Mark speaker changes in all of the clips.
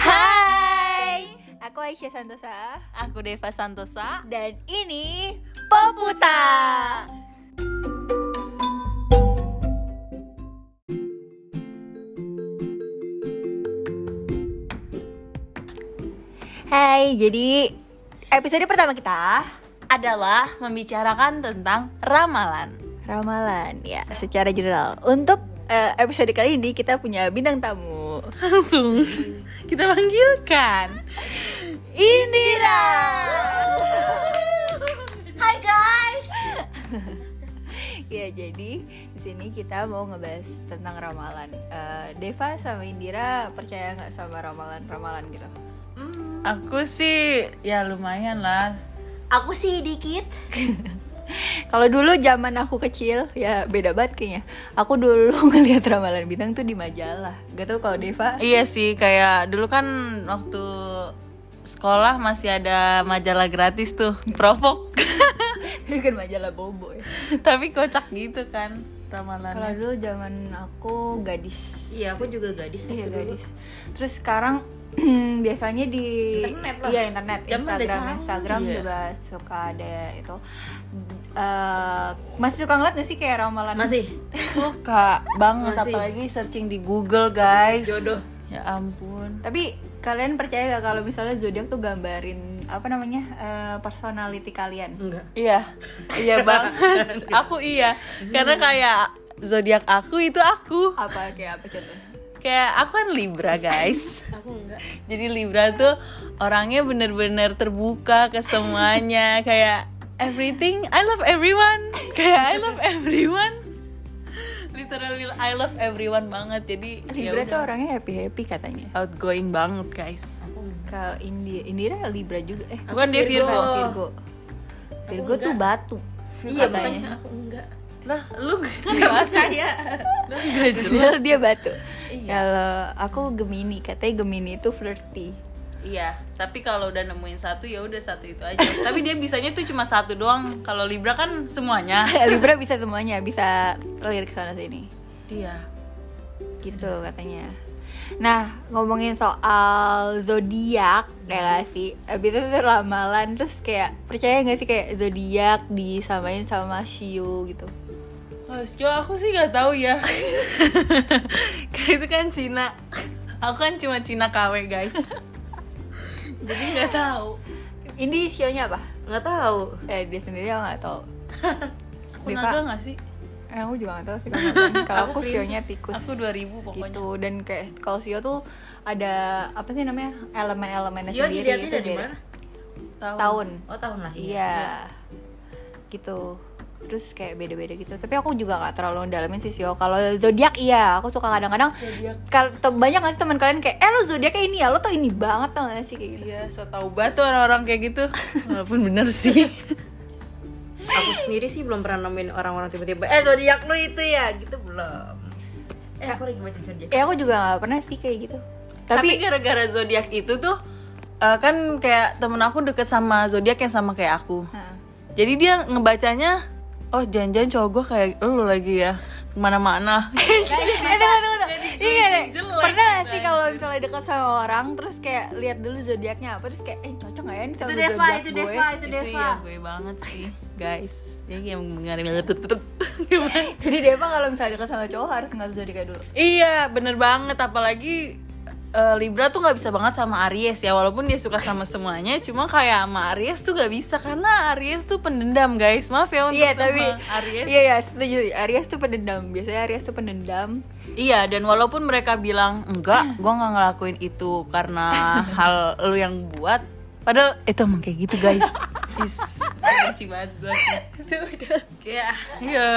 Speaker 1: Hai, aku Aisyah Santosa
Speaker 2: Aku Deva Santosa.
Speaker 1: dan ini Poputa. Hai, jadi episode pertama kita
Speaker 2: Adalah membicarakan tentang ramalan.
Speaker 1: ramalan ya secara general. Untuk eh, episode kali ini kita punya bintang tamu.
Speaker 2: Langsung kita panggilkan Indira.
Speaker 1: Hai guys. ya jadi di sini kita mau ngebahas tentang ramalan. Eh, Deva sama Indira percaya nggak sama ramalan-ramalan gitu?
Speaker 2: Aku sih ya lumayan lah.
Speaker 3: Aku sih dikit.
Speaker 1: Kalau dulu zaman aku kecil ya beda banget kayaknya. Aku dulu ngelihat ramalan bintang tuh di majalah. Gak tau kalau Deva
Speaker 2: Iya sih kayak dulu kan waktu sekolah masih ada majalah gratis tuh, provok.
Speaker 1: bikin kan majalah bobo ya.
Speaker 2: Tapi kocak gitu kan ramalan.
Speaker 1: Kalau dulu zaman aku gadis.
Speaker 3: Iya, aku juga gadis.
Speaker 1: Iya
Speaker 3: aku dulu.
Speaker 1: gadis. Terus sekarang biasanya di
Speaker 3: Internet lah.
Speaker 1: iya internet,
Speaker 3: Zaman udah
Speaker 1: Instagram,
Speaker 3: canggih. ya.
Speaker 1: Instagram
Speaker 2: Iya.
Speaker 1: juga suka ada itu. Eh, masih suka ngeliat gak sih kayak ramalan?
Speaker 3: Masih.
Speaker 2: Suka banget
Speaker 3: Masih.
Speaker 2: apalagi searching di Google, guys.
Speaker 3: Jodoh.
Speaker 2: Ya ampun.
Speaker 1: Tapi kalian percaya gak kalau misalnya zodiak tuh gambarin apa namanya eh, personality kalian?
Speaker 3: Enggak.
Speaker 2: Iya, iya banget. aku iya, karena kayak zodiak aku itu aku.
Speaker 1: Apa kayak apa contohnya?
Speaker 2: Kayak aku kan Libra guys.
Speaker 3: Aku enggak.
Speaker 2: Jadi Libra tuh orangnya bener-bener terbuka ke semuanya. Kayak everything, I love everyone. Kayak I love everyone. Literally I love everyone banget. Jadi ya
Speaker 1: Libra tuh
Speaker 2: udah,
Speaker 1: orangnya happy happy katanya.
Speaker 2: outgoing banget guys.
Speaker 3: Aku enggak.
Speaker 1: Kalau Indi- Indira Libra juga eh
Speaker 2: Bukan dia
Speaker 1: Virgo.
Speaker 2: Iya, Virgo.
Speaker 1: Virgo. Virgo tuh
Speaker 3: enggak.
Speaker 1: batu.
Speaker 3: Iya,
Speaker 1: katanya.
Speaker 3: makanya aku enggak.
Speaker 2: Lah, lu kan gak percaya. Lu gak jelas.
Speaker 1: Padahal dia batu.
Speaker 3: Iya.
Speaker 1: Kalau aku Oh, Gemini, katanya Gemini itu flirty.
Speaker 2: Iya, tapi kalau udah nemuin satu ya udah satu itu aja. tapi dia bisanya tuh cuma satu doang. Kalau Libra kan semuanya.
Speaker 1: Libra bisa semuanya, bisa selir ke sana sini.
Speaker 2: Iya.
Speaker 1: Gitu katanya. Nah, ngomongin soal zodiak, ya gak sih? Abis itu tuh ramalan terus kayak percaya gak sih kayak zodiak disamain sama Shio gitu.
Speaker 2: Kalau Sio Oh, aku sih nggak tahu ya. Kayak itu kan Cina. Aku kan cuma Cina KW guys. Jadi nggak tahu.
Speaker 1: Ini Shio-nya apa?
Speaker 3: Enggak tahu.
Speaker 1: Eh, dia sendiri aku gak tau.
Speaker 2: Aku
Speaker 1: Diva.
Speaker 2: naga nggak sih?
Speaker 1: Eh, aku juga gak tau sih kalau ngapain. Kalau aku
Speaker 2: Aku
Speaker 1: sionya
Speaker 2: Princess.
Speaker 1: tikus
Speaker 2: Aku 2000 pokoknya.
Speaker 1: Gitu, dan kayak kalau sio tuh ada apa sih namanya elemen-elemennya
Speaker 3: Zio
Speaker 1: sendiri
Speaker 3: dilihatnya
Speaker 1: itu
Speaker 3: dari
Speaker 1: beda.
Speaker 3: mana?
Speaker 2: Tahu.
Speaker 1: Tahun
Speaker 3: Oh, tahun lah.
Speaker 1: Iya Gitu Terus kayak beda-beda gitu Tapi aku juga gak terlalu dalamin sih sio Kalau zodiak iya Aku suka kadang-kadang
Speaker 2: Zodiak.
Speaker 1: kal- te- Banyak gak sih teman kalian kayak Eh lo zodiaknya ini ya Lo tuh ini banget tau gak sih kayak gitu
Speaker 2: Iya, so tau banget tuh orang-orang kayak gitu. Walaupun bener sih.
Speaker 3: Aku sendiri sih belum pernah nemuin orang-orang tiba-tiba, "Eh, zodiak lu itu ya." Gitu belum. Eh, aku lagi baca zodiak.
Speaker 1: Ya aku juga gak pernah sih kayak gitu
Speaker 2: Tapi,
Speaker 1: Tapi,
Speaker 2: gara-gara zodiak itu tuh eh, kan kayak temen aku deket sama zodiak yang sama kayak aku.
Speaker 1: Hah.
Speaker 2: Jadi dia ngebacanya, oh jangan-jangan cowok gue kayak lu lagi ya kemana-mana.
Speaker 1: Eh, tunggu, tunggu, tunggu. Ini
Speaker 2: gue
Speaker 1: kayak-
Speaker 2: jelek.
Speaker 1: pernah gak sih kalau misalnya dekat sama orang terus kayak lihat dulu zodiaknya apa terus kayak eh cocok gak ya ini sama
Speaker 3: Itu Deva,
Speaker 1: zodiak
Speaker 3: itu
Speaker 1: gue? Gitu.
Speaker 3: Deva, itu
Speaker 2: itu
Speaker 3: Deva.
Speaker 2: ya gue banget sih, guys. Jadi yang mengalami Gimana?
Speaker 1: Jadi Deva kalau misalnya dekat sama cowok harus ngeliat zodiaknya dulu.
Speaker 2: Iya, bener banget. Apalagi eh, Libra tuh nggak bisa banget sama Aries ya, walaupun dia suka sama semuanya. Cuma kayak sama Aries tuh nggak bisa karena Aries tuh pendendam, guys. Maaf ya untuk
Speaker 1: Iya
Speaker 2: sama
Speaker 1: tapi
Speaker 2: Aries.
Speaker 1: Iya ya setuju. Aries tuh pendendam. Biasanya Aries tuh pendendam.
Speaker 2: Iya, dan walaupun mereka bilang enggak, gue nggak ngelakuin itu karena hal lu yang buat. Padahal itu emang kayak gitu guys. Is, benci banget gue. Kayak, ya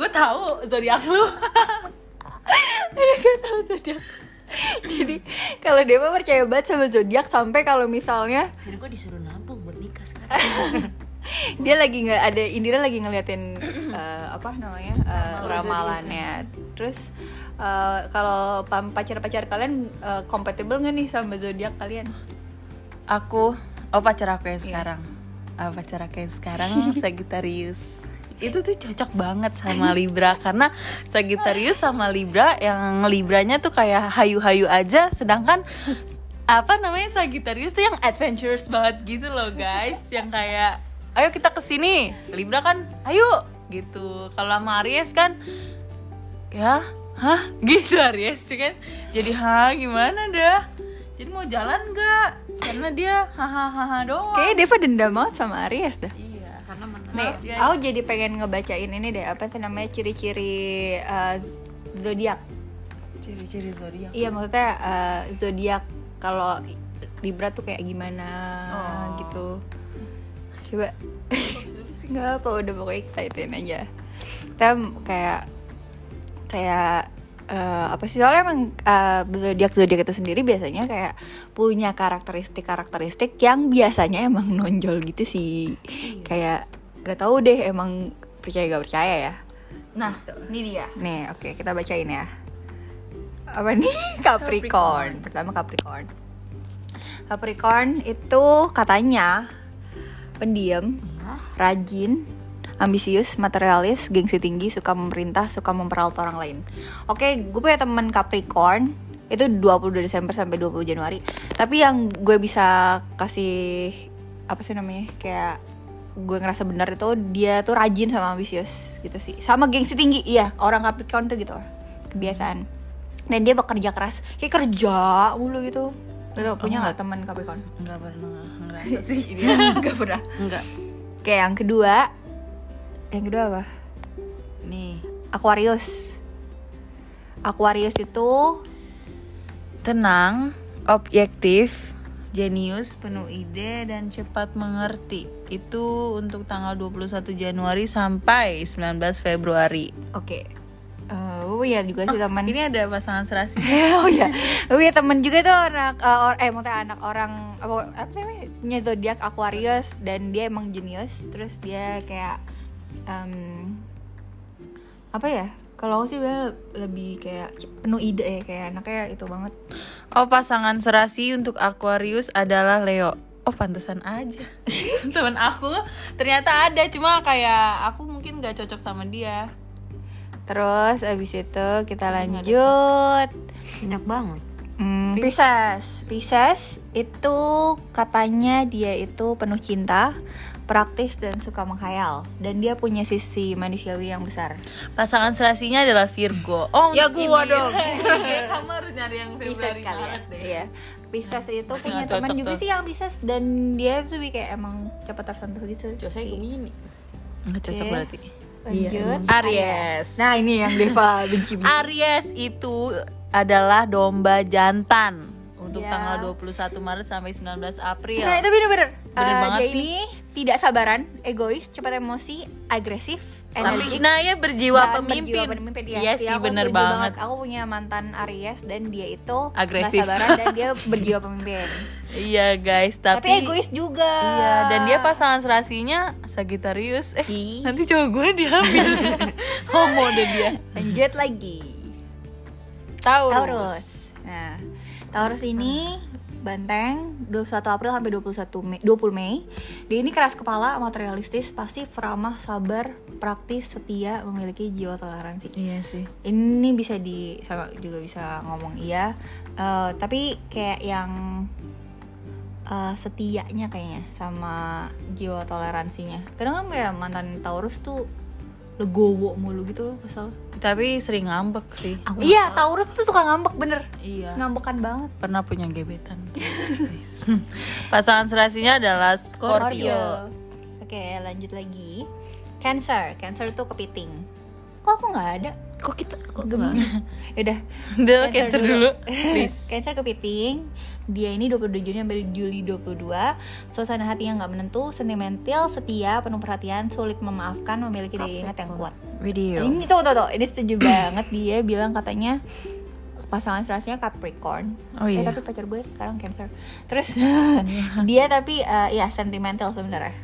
Speaker 2: gue tahu zodiak lu.
Speaker 1: Jadi kalau Deva percaya banget sama zodiak sampai kalau misalnya
Speaker 3: Jadi gua disuruh nabung buat nikah sekarang.
Speaker 1: dia lagi nggak ada Indira lagi ngeliatin eh, apa namanya eh, ramalannya terus eh, kalau pam- pacar-pacar kalian eh, compatible nggak nih sama zodiak kalian
Speaker 2: Aku, oh pacar aku yang sekarang. Ah, pacar aku yang sekarang Sagittarius. Itu tuh cocok banget sama Libra karena Sagittarius sama Libra yang Libranya tuh kayak hayu-hayu aja sedangkan apa namanya Sagittarius tuh yang adventurous banget gitu loh guys yang kayak ayo kita ke sini Libra kan ayo gitu kalau sama Aries kan ya hah gitu Aries sih kan jadi ha gimana dah jadi mau jalan nggak karena dia hahaha doang
Speaker 1: Kayaknya Deva dendam banget sama Aries dah.
Speaker 2: iya
Speaker 3: karena mantan
Speaker 1: Nih,
Speaker 2: Maaf, guys.
Speaker 1: aku jadi pengen ngebacain ini deh apa sih namanya ciri-ciri eh, zodiak.
Speaker 2: ciri-ciri zodiak
Speaker 1: Iya, maksudnya eh, zodiak kalau Libra tuh kayak gimana
Speaker 2: Oh.
Speaker 1: gitu. Coba nggak apa udah pokoknya kita ituin aja. Kita kayak kayak eh, apa sih soalnya emang zodiak zodiak itu sendiri biasanya kayak punya karakteristik karakteristik yang biasanya emang nonjol gitu sih
Speaker 2: Iya.
Speaker 1: kayak gak tahu deh emang percaya gak percaya ya
Speaker 2: nah ini dia
Speaker 1: nih oke kita bacain ya apa nih Capricorn pertama Capricorn Capricorn itu katanya pendiam rajin ambisius materialis gengsi tinggi suka memerintah suka memperalta orang lain oke gue punya temen Capricorn itu 22 Desember sampai 20 Januari tapi yang gue bisa kasih apa sih namanya kayak gue ngerasa benar itu dia tuh rajin sama ambisius gitu sih sama gengsi tinggi iya orang Capricorn tuh gitu kebiasaan dan dia bekerja keras kayak kerja mulu gitu gitu punya nggak teman Capricorn
Speaker 2: nggak pernah ngerasa sih
Speaker 1: nggak pernah
Speaker 2: nggak
Speaker 1: Oke, yang kedua. Yang kedua apa?
Speaker 2: nih
Speaker 1: Aquarius. Aquarius itu
Speaker 2: tenang, objektif, jenius, penuh ide dan cepat mengerti. Itu untuk tanggal 21 Januari sampai 19 Februari.
Speaker 1: oke. Eh, gue punya juga sih teman.
Speaker 2: Ini ada pasangan serasi.
Speaker 1: oh iya. Gue punya teman juga tuh anak eh, or- eh maksudnya anak orang apa apa sih namanya? Punya zodiak Aquarius dan dia emang jenius, terus dia kayak em, apa ya? Kalau aku sih bilang lebih kayak penuh ide ya, kayak anaknya itu banget.
Speaker 2: Oh, pasangan serasi untuk Aquarius adalah Leo. Oh, pantesan aja. Temen aku ternyata ada, cuma kayak aku mungkin gak cocok sama dia.
Speaker 1: Terus abis itu kita lanjut
Speaker 3: banyak banget
Speaker 1: Hmm, Pisces. Pisces itu katanya dia itu penuh cinta, praktis dan suka menghayal dan dia punya sisi manusiawi yang besar.
Speaker 2: Pasangan serasinya adalah Virgo. Oh,
Speaker 3: Ya,
Speaker 2: untuk
Speaker 3: gua
Speaker 2: ini-
Speaker 3: dong.
Speaker 2: Ya, kamu harus nyari yang
Speaker 1: Pisces
Speaker 2: Februari
Speaker 1: kali ya.
Speaker 2: banget deh. Hmm. Nah,
Speaker 1: Iya. Pisces itu punya
Speaker 2: cocok
Speaker 1: teman juga
Speaker 2: tuh.
Speaker 1: sih yang Pisces dan dia tuh lebih kayak emang cepat tersentuh gitu. sih.
Speaker 3: gemini
Speaker 2: Nggak cocok
Speaker 1: Oke.
Speaker 2: berarti.
Speaker 1: Lanjut.
Speaker 2: Aries.
Speaker 1: Nah, ini yang Deva benci benci.
Speaker 2: Aries itu adalah domba jantan untuk
Speaker 1: Ya.
Speaker 2: tanggal 21 Maret sampai 19 April.
Speaker 1: Nah, itu bener-bener.
Speaker 2: Bener
Speaker 1: Eh,
Speaker 2: banget
Speaker 1: dia
Speaker 2: nih.
Speaker 1: ini tidak sabaran, egois, cepat emosi, agresif,
Speaker 2: Tapi
Speaker 1: energik.
Speaker 2: Naya berjiwa
Speaker 1: Dan
Speaker 2: pemimpin.
Speaker 1: berjiwa pemimpin dia.
Speaker 2: Iya
Speaker 1: Iya,
Speaker 2: sih
Speaker 1: aku
Speaker 2: bener
Speaker 1: setuju
Speaker 2: banget.
Speaker 1: Aku punya mantan Aries dan dia itu
Speaker 2: Agresif.
Speaker 1: nggak sabaran dan dia berjiwa pemimpin.
Speaker 2: Iya guys,
Speaker 1: Tapi,
Speaker 2: tapi,
Speaker 1: egois juga.
Speaker 2: Iya, dan dia pasangan serasinya Sagittarius. Eh,
Speaker 1: Ih.
Speaker 2: nanti cowok gue diambil. Homo deh dia.
Speaker 1: Lanjut lagi.
Speaker 2: Taurus.
Speaker 1: Taurus. Nah, Taurus ini Banteng 21 April sampai 21 Mei, 20 Mei. Dia ini keras kepala, materialistis, pasif, ramah, sabar, praktis, setia, memiliki jiwa toleransi.
Speaker 2: Iya sih.
Speaker 1: ini bisa di sama juga bisa ngomong iya Eh, tapi kayak yang eh, setianya kayaknya sama jiwa toleransinya kadang kan kayak mantan Taurus tuh legowo mulu gitu loh kesel
Speaker 2: Tapi sering ngambek sih.
Speaker 1: iya Taurus tuh suka ngambek bener
Speaker 2: Iya.
Speaker 1: ngambekan banget
Speaker 2: Pernah punya gebetan. pasangan serasinya adalah Scorpio.
Speaker 1: oke lanjut lagi Cancer Cancer tuh kepiting kok aku nggak ada
Speaker 2: Kok kita kok
Speaker 1: Gemini Yaudah
Speaker 2: Del cancer dulu, please.
Speaker 1: Cancer kepiting Dia ini 22 Juni sampai Juli 22 Suasana hatinya nggak menentu Sentimental, setia, penuh perhatian Sulit memaafkan, memiliki daya ingat yang kuat
Speaker 2: Video.
Speaker 1: Ini tuh, tuh, tuh Ini setuju banget Dia bilang katanya pasangan serasinya Capricorn.
Speaker 2: Oh,
Speaker 1: Eh,
Speaker 2: iya.
Speaker 1: tapi pacar gue sekarang Cancer. Terus dia tapi eh, ya sentimental sebenarnya.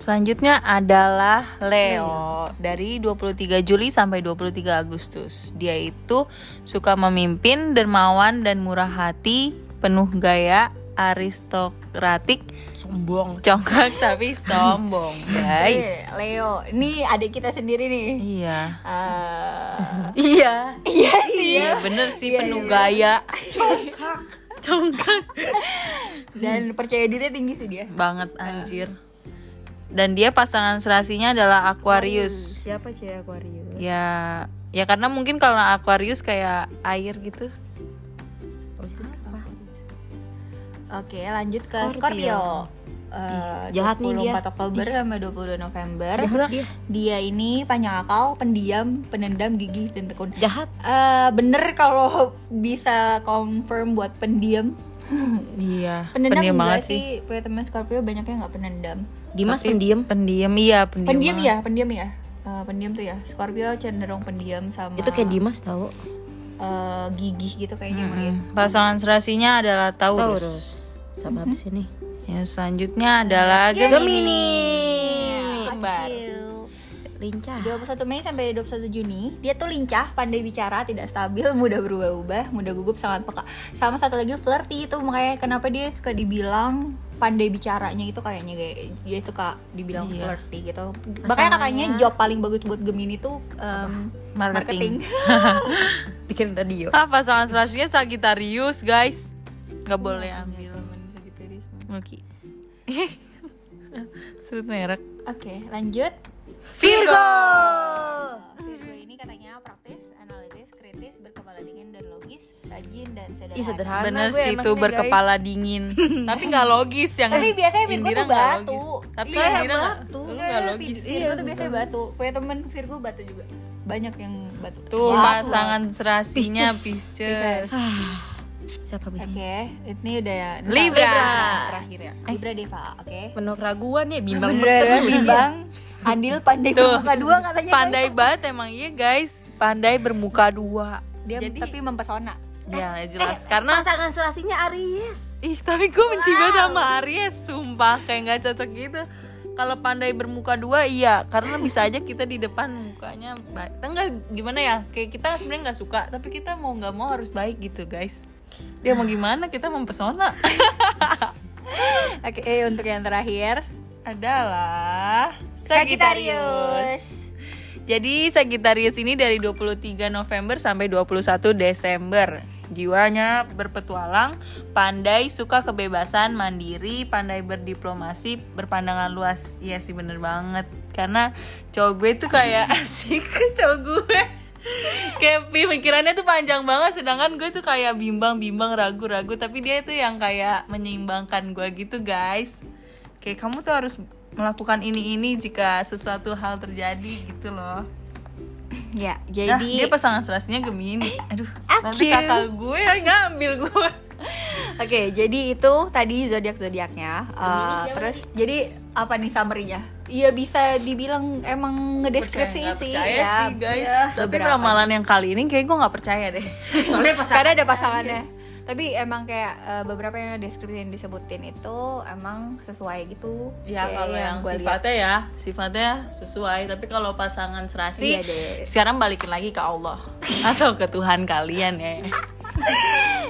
Speaker 2: Selanjutnya adalah Leo dari 23 Juli sampai 23 Agustus. Dia itu suka memimpin, dermawan dan murah hati, penuh gaya, aristokratik,
Speaker 3: sombong
Speaker 2: congkak tapi sombong, guys.
Speaker 1: Eh, Leo, ini adik kita sendiri nih.
Speaker 2: Iya.
Speaker 1: Eh,
Speaker 2: Iya.
Speaker 1: iya, iya.
Speaker 2: Iya, bener sih
Speaker 1: Iya,
Speaker 2: penuh
Speaker 1: iya,
Speaker 2: gaya.
Speaker 3: Congkak.
Speaker 2: Congkak
Speaker 1: dan percaya diri tinggi sih dia
Speaker 2: banget anjir. Dan dia pasangan serasinya adalah Aquarius.
Speaker 3: Siapa cewek Aquarius?
Speaker 2: Ya, ya karena mungkin kalau Aquarius kayak air gitu.
Speaker 3: Terus itu siapa?
Speaker 1: oke lanjut ke
Speaker 3: Scorpio.
Speaker 1: Scorpio Eh,
Speaker 3: Ih, jahat nih dia.
Speaker 1: 24 Oktober sama 22 November
Speaker 3: Jahat dia.
Speaker 1: dia ini panjang akal pendiam penendam gigih dan tekun
Speaker 3: Jahat.
Speaker 1: Eh, bener kalau bisa confirm buat pendiam
Speaker 2: Iya.
Speaker 1: penendam
Speaker 2: pendiam
Speaker 1: enggak
Speaker 2: banget
Speaker 1: sih punya teman Scorpio banyaknya nggak penendam
Speaker 3: Dimas
Speaker 2: Tapi
Speaker 3: pendiam.
Speaker 2: Pendiam iya, pendiam.
Speaker 1: pendiam
Speaker 2: banget.
Speaker 1: ya pendiam ya Eh, pendiam tuh ya Scorpio cenderung pendiam sama
Speaker 3: Itu kayak Dimas tahu.
Speaker 1: eh, gigih gitu kayaknya Maya.
Speaker 2: Hmm, Pasangan serasinya adalah Taurus.
Speaker 3: Taurus. Sama apa sih nih?
Speaker 2: Ya, selanjutnya adalah
Speaker 1: Ya,
Speaker 2: Gemini. Iya, Kembar.
Speaker 1: Kecil.
Speaker 3: Lincah.
Speaker 1: 21 Mei sampai 21 Juni Dia tuh lincah, pandai bicara, tidak stabil, mudah berubah-ubah, mudah gugup, sangat peka Sama satu lagi flirty itu makanya kenapa dia suka dibilang pandai bicaranya itu kayaknya kayak dia suka dibilang
Speaker 2: Iya.
Speaker 1: flirty gitu Makanya katanya job paling bagus buat Gemini tuh em,
Speaker 2: Marketing.
Speaker 3: Bikin radio.
Speaker 2: Ah, pasangan serasinya Sagittarius, guys. Nggak boleh ambil. Oke. Sebut merek.
Speaker 1: Oke lanjut
Speaker 2: Virgo.
Speaker 1: Virgo ini katanya praktis, analitis, kritis, berkepala dingin dan logis, rajin dan
Speaker 3: Ih,
Speaker 1: sederhana.
Speaker 3: sederhana
Speaker 2: Bener
Speaker 3: gue
Speaker 2: sih
Speaker 3: emang
Speaker 2: itu
Speaker 3: nih,
Speaker 2: berkepala dingin. Tapi nggak logis yang.
Speaker 1: Tapi biasanya Virgo
Speaker 2: Indira
Speaker 1: tuh
Speaker 2: nggak
Speaker 1: batu.
Speaker 2: logis. Tapi
Speaker 1: Iya,
Speaker 2: Indira nggak-
Speaker 3: batu.
Speaker 2: lu
Speaker 1: Enggak,
Speaker 2: nggak
Speaker 1: enggak,
Speaker 2: logis. Iya,
Speaker 1: Vir- Virgo tuh biasanya batu. Punya temen Virgo batu juga. Banyak yang batu.
Speaker 2: Tuh
Speaker 1: Wah. Ah.
Speaker 2: pasangan serasinya
Speaker 3: Pisces.
Speaker 2: Pisces.
Speaker 3: guys. Siapa
Speaker 1: Oke,
Speaker 3: bisa?
Speaker 1: ini udah ya.
Speaker 2: Libra. Eh.
Speaker 1: Terakhir ya. Libra Deva, oke.
Speaker 3: Penuh keraguan ya bimbang
Speaker 1: Bener bimbang. Adil pandai bermuka dua katanya.
Speaker 2: Pandai banget emang iya guys. Pandai bermuka dua.
Speaker 1: Dia
Speaker 2: Jadi
Speaker 1: tapi mempesona.
Speaker 2: ya
Speaker 1: Eh,
Speaker 2: jelas karena
Speaker 3: pasangan selasinya Aries.
Speaker 2: Ih, tapi gue benci banget sama Aries, sumpah kayak nggak cocok gitu. Kalau pandai bermuka dua, iya, karena bisa aja kita di depan mukanya baik. Enggak gimana ya? Kayak kita sebenarnya nggak suka, tapi kita mau nggak mau harus baik gitu, guys. Dia mau gimana? Kita mempesona.
Speaker 1: Oke, eh, untuk yang terakhir
Speaker 2: Adalah
Speaker 1: Sagittarius.
Speaker 2: Jadi Sagittarius ini dari 23 November sampai 21 Desember. Jiwanya berpetualang, pandai, suka kebebasan, mandiri, pandai berdiplomasi, berpandangan luas. Iya sih bener banget. Karena cowok gue tuh kayak asik cowok gue. kayak pemikirannya tuh panjang banget sedangkan gue tuh kayak bimbang-bimbang ragu-ragu tapi dia tuh yang kayak menyeimbangkan gue gitu guys kayak kamu tuh harus melakukan ini ini jika sesuatu hal terjadi gitu loh.
Speaker 1: Ya,
Speaker 2: Nah,
Speaker 1: jadi
Speaker 2: dia pasangan serasinya Gemini. Aduh, nanti
Speaker 1: Akhil.
Speaker 2: kakak gue yang ngambil gue.
Speaker 1: Oke, jadi itu tadi zodiak-zodiaknya. Uh, terus jadi apa nih summary-nya? Iya bisa dibilang emang ngedeskripsiin
Speaker 2: Nggak
Speaker 1: sih.
Speaker 2: percaya
Speaker 1: ya,
Speaker 2: sih guys.
Speaker 1: ya,
Speaker 2: Tapi
Speaker 1: beberapa.
Speaker 2: ramalan yang kali ini kayak gue nggak percaya deh.
Speaker 3: Soalnya
Speaker 1: Karena ada pasangannya. Tapi emang kayak uh, beberapa yang deskripsi yang disebutin itu emang sesuai gitu.
Speaker 2: Ya
Speaker 1: Kayak
Speaker 2: kalau yang,
Speaker 1: gua lihat.
Speaker 2: sifatnya ya, sifatnya sesuai. Tapi kalau pasangan serasi,
Speaker 1: Iya deh.
Speaker 2: sekarang balikin lagi ke Allah atau ke Tuhan kalian ya.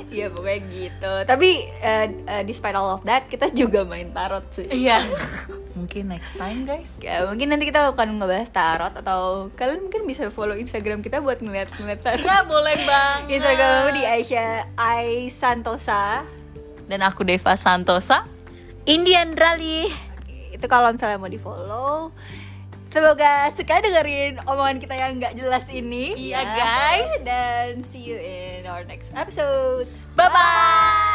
Speaker 1: Iya pokoknya gitu. Tapi uh, uh, despite all of that, kita juga main tarot sih.
Speaker 2: Iya. Mungkin next time guys.
Speaker 1: Ya, mungkin nanti kita akan ngebahas tarot atau kalian mungkin bisa follow Instagram kita buat ngeliat-ngeliat tarot.
Speaker 2: Iya boleh banget. Nah.
Speaker 1: Instagram aku di Aisyah Ai Santosa.
Speaker 2: Dan aku Deva Santosa.
Speaker 3: Indian Rally.
Speaker 1: Oke, Itu kalau misalnya mau di follow. Semoga suka dengerin omongan kita yang nggak jelas ini.
Speaker 2: Iya,
Speaker 1: Ya.
Speaker 2: guys.
Speaker 1: Dan see you in our next episode.
Speaker 2: Bye bye.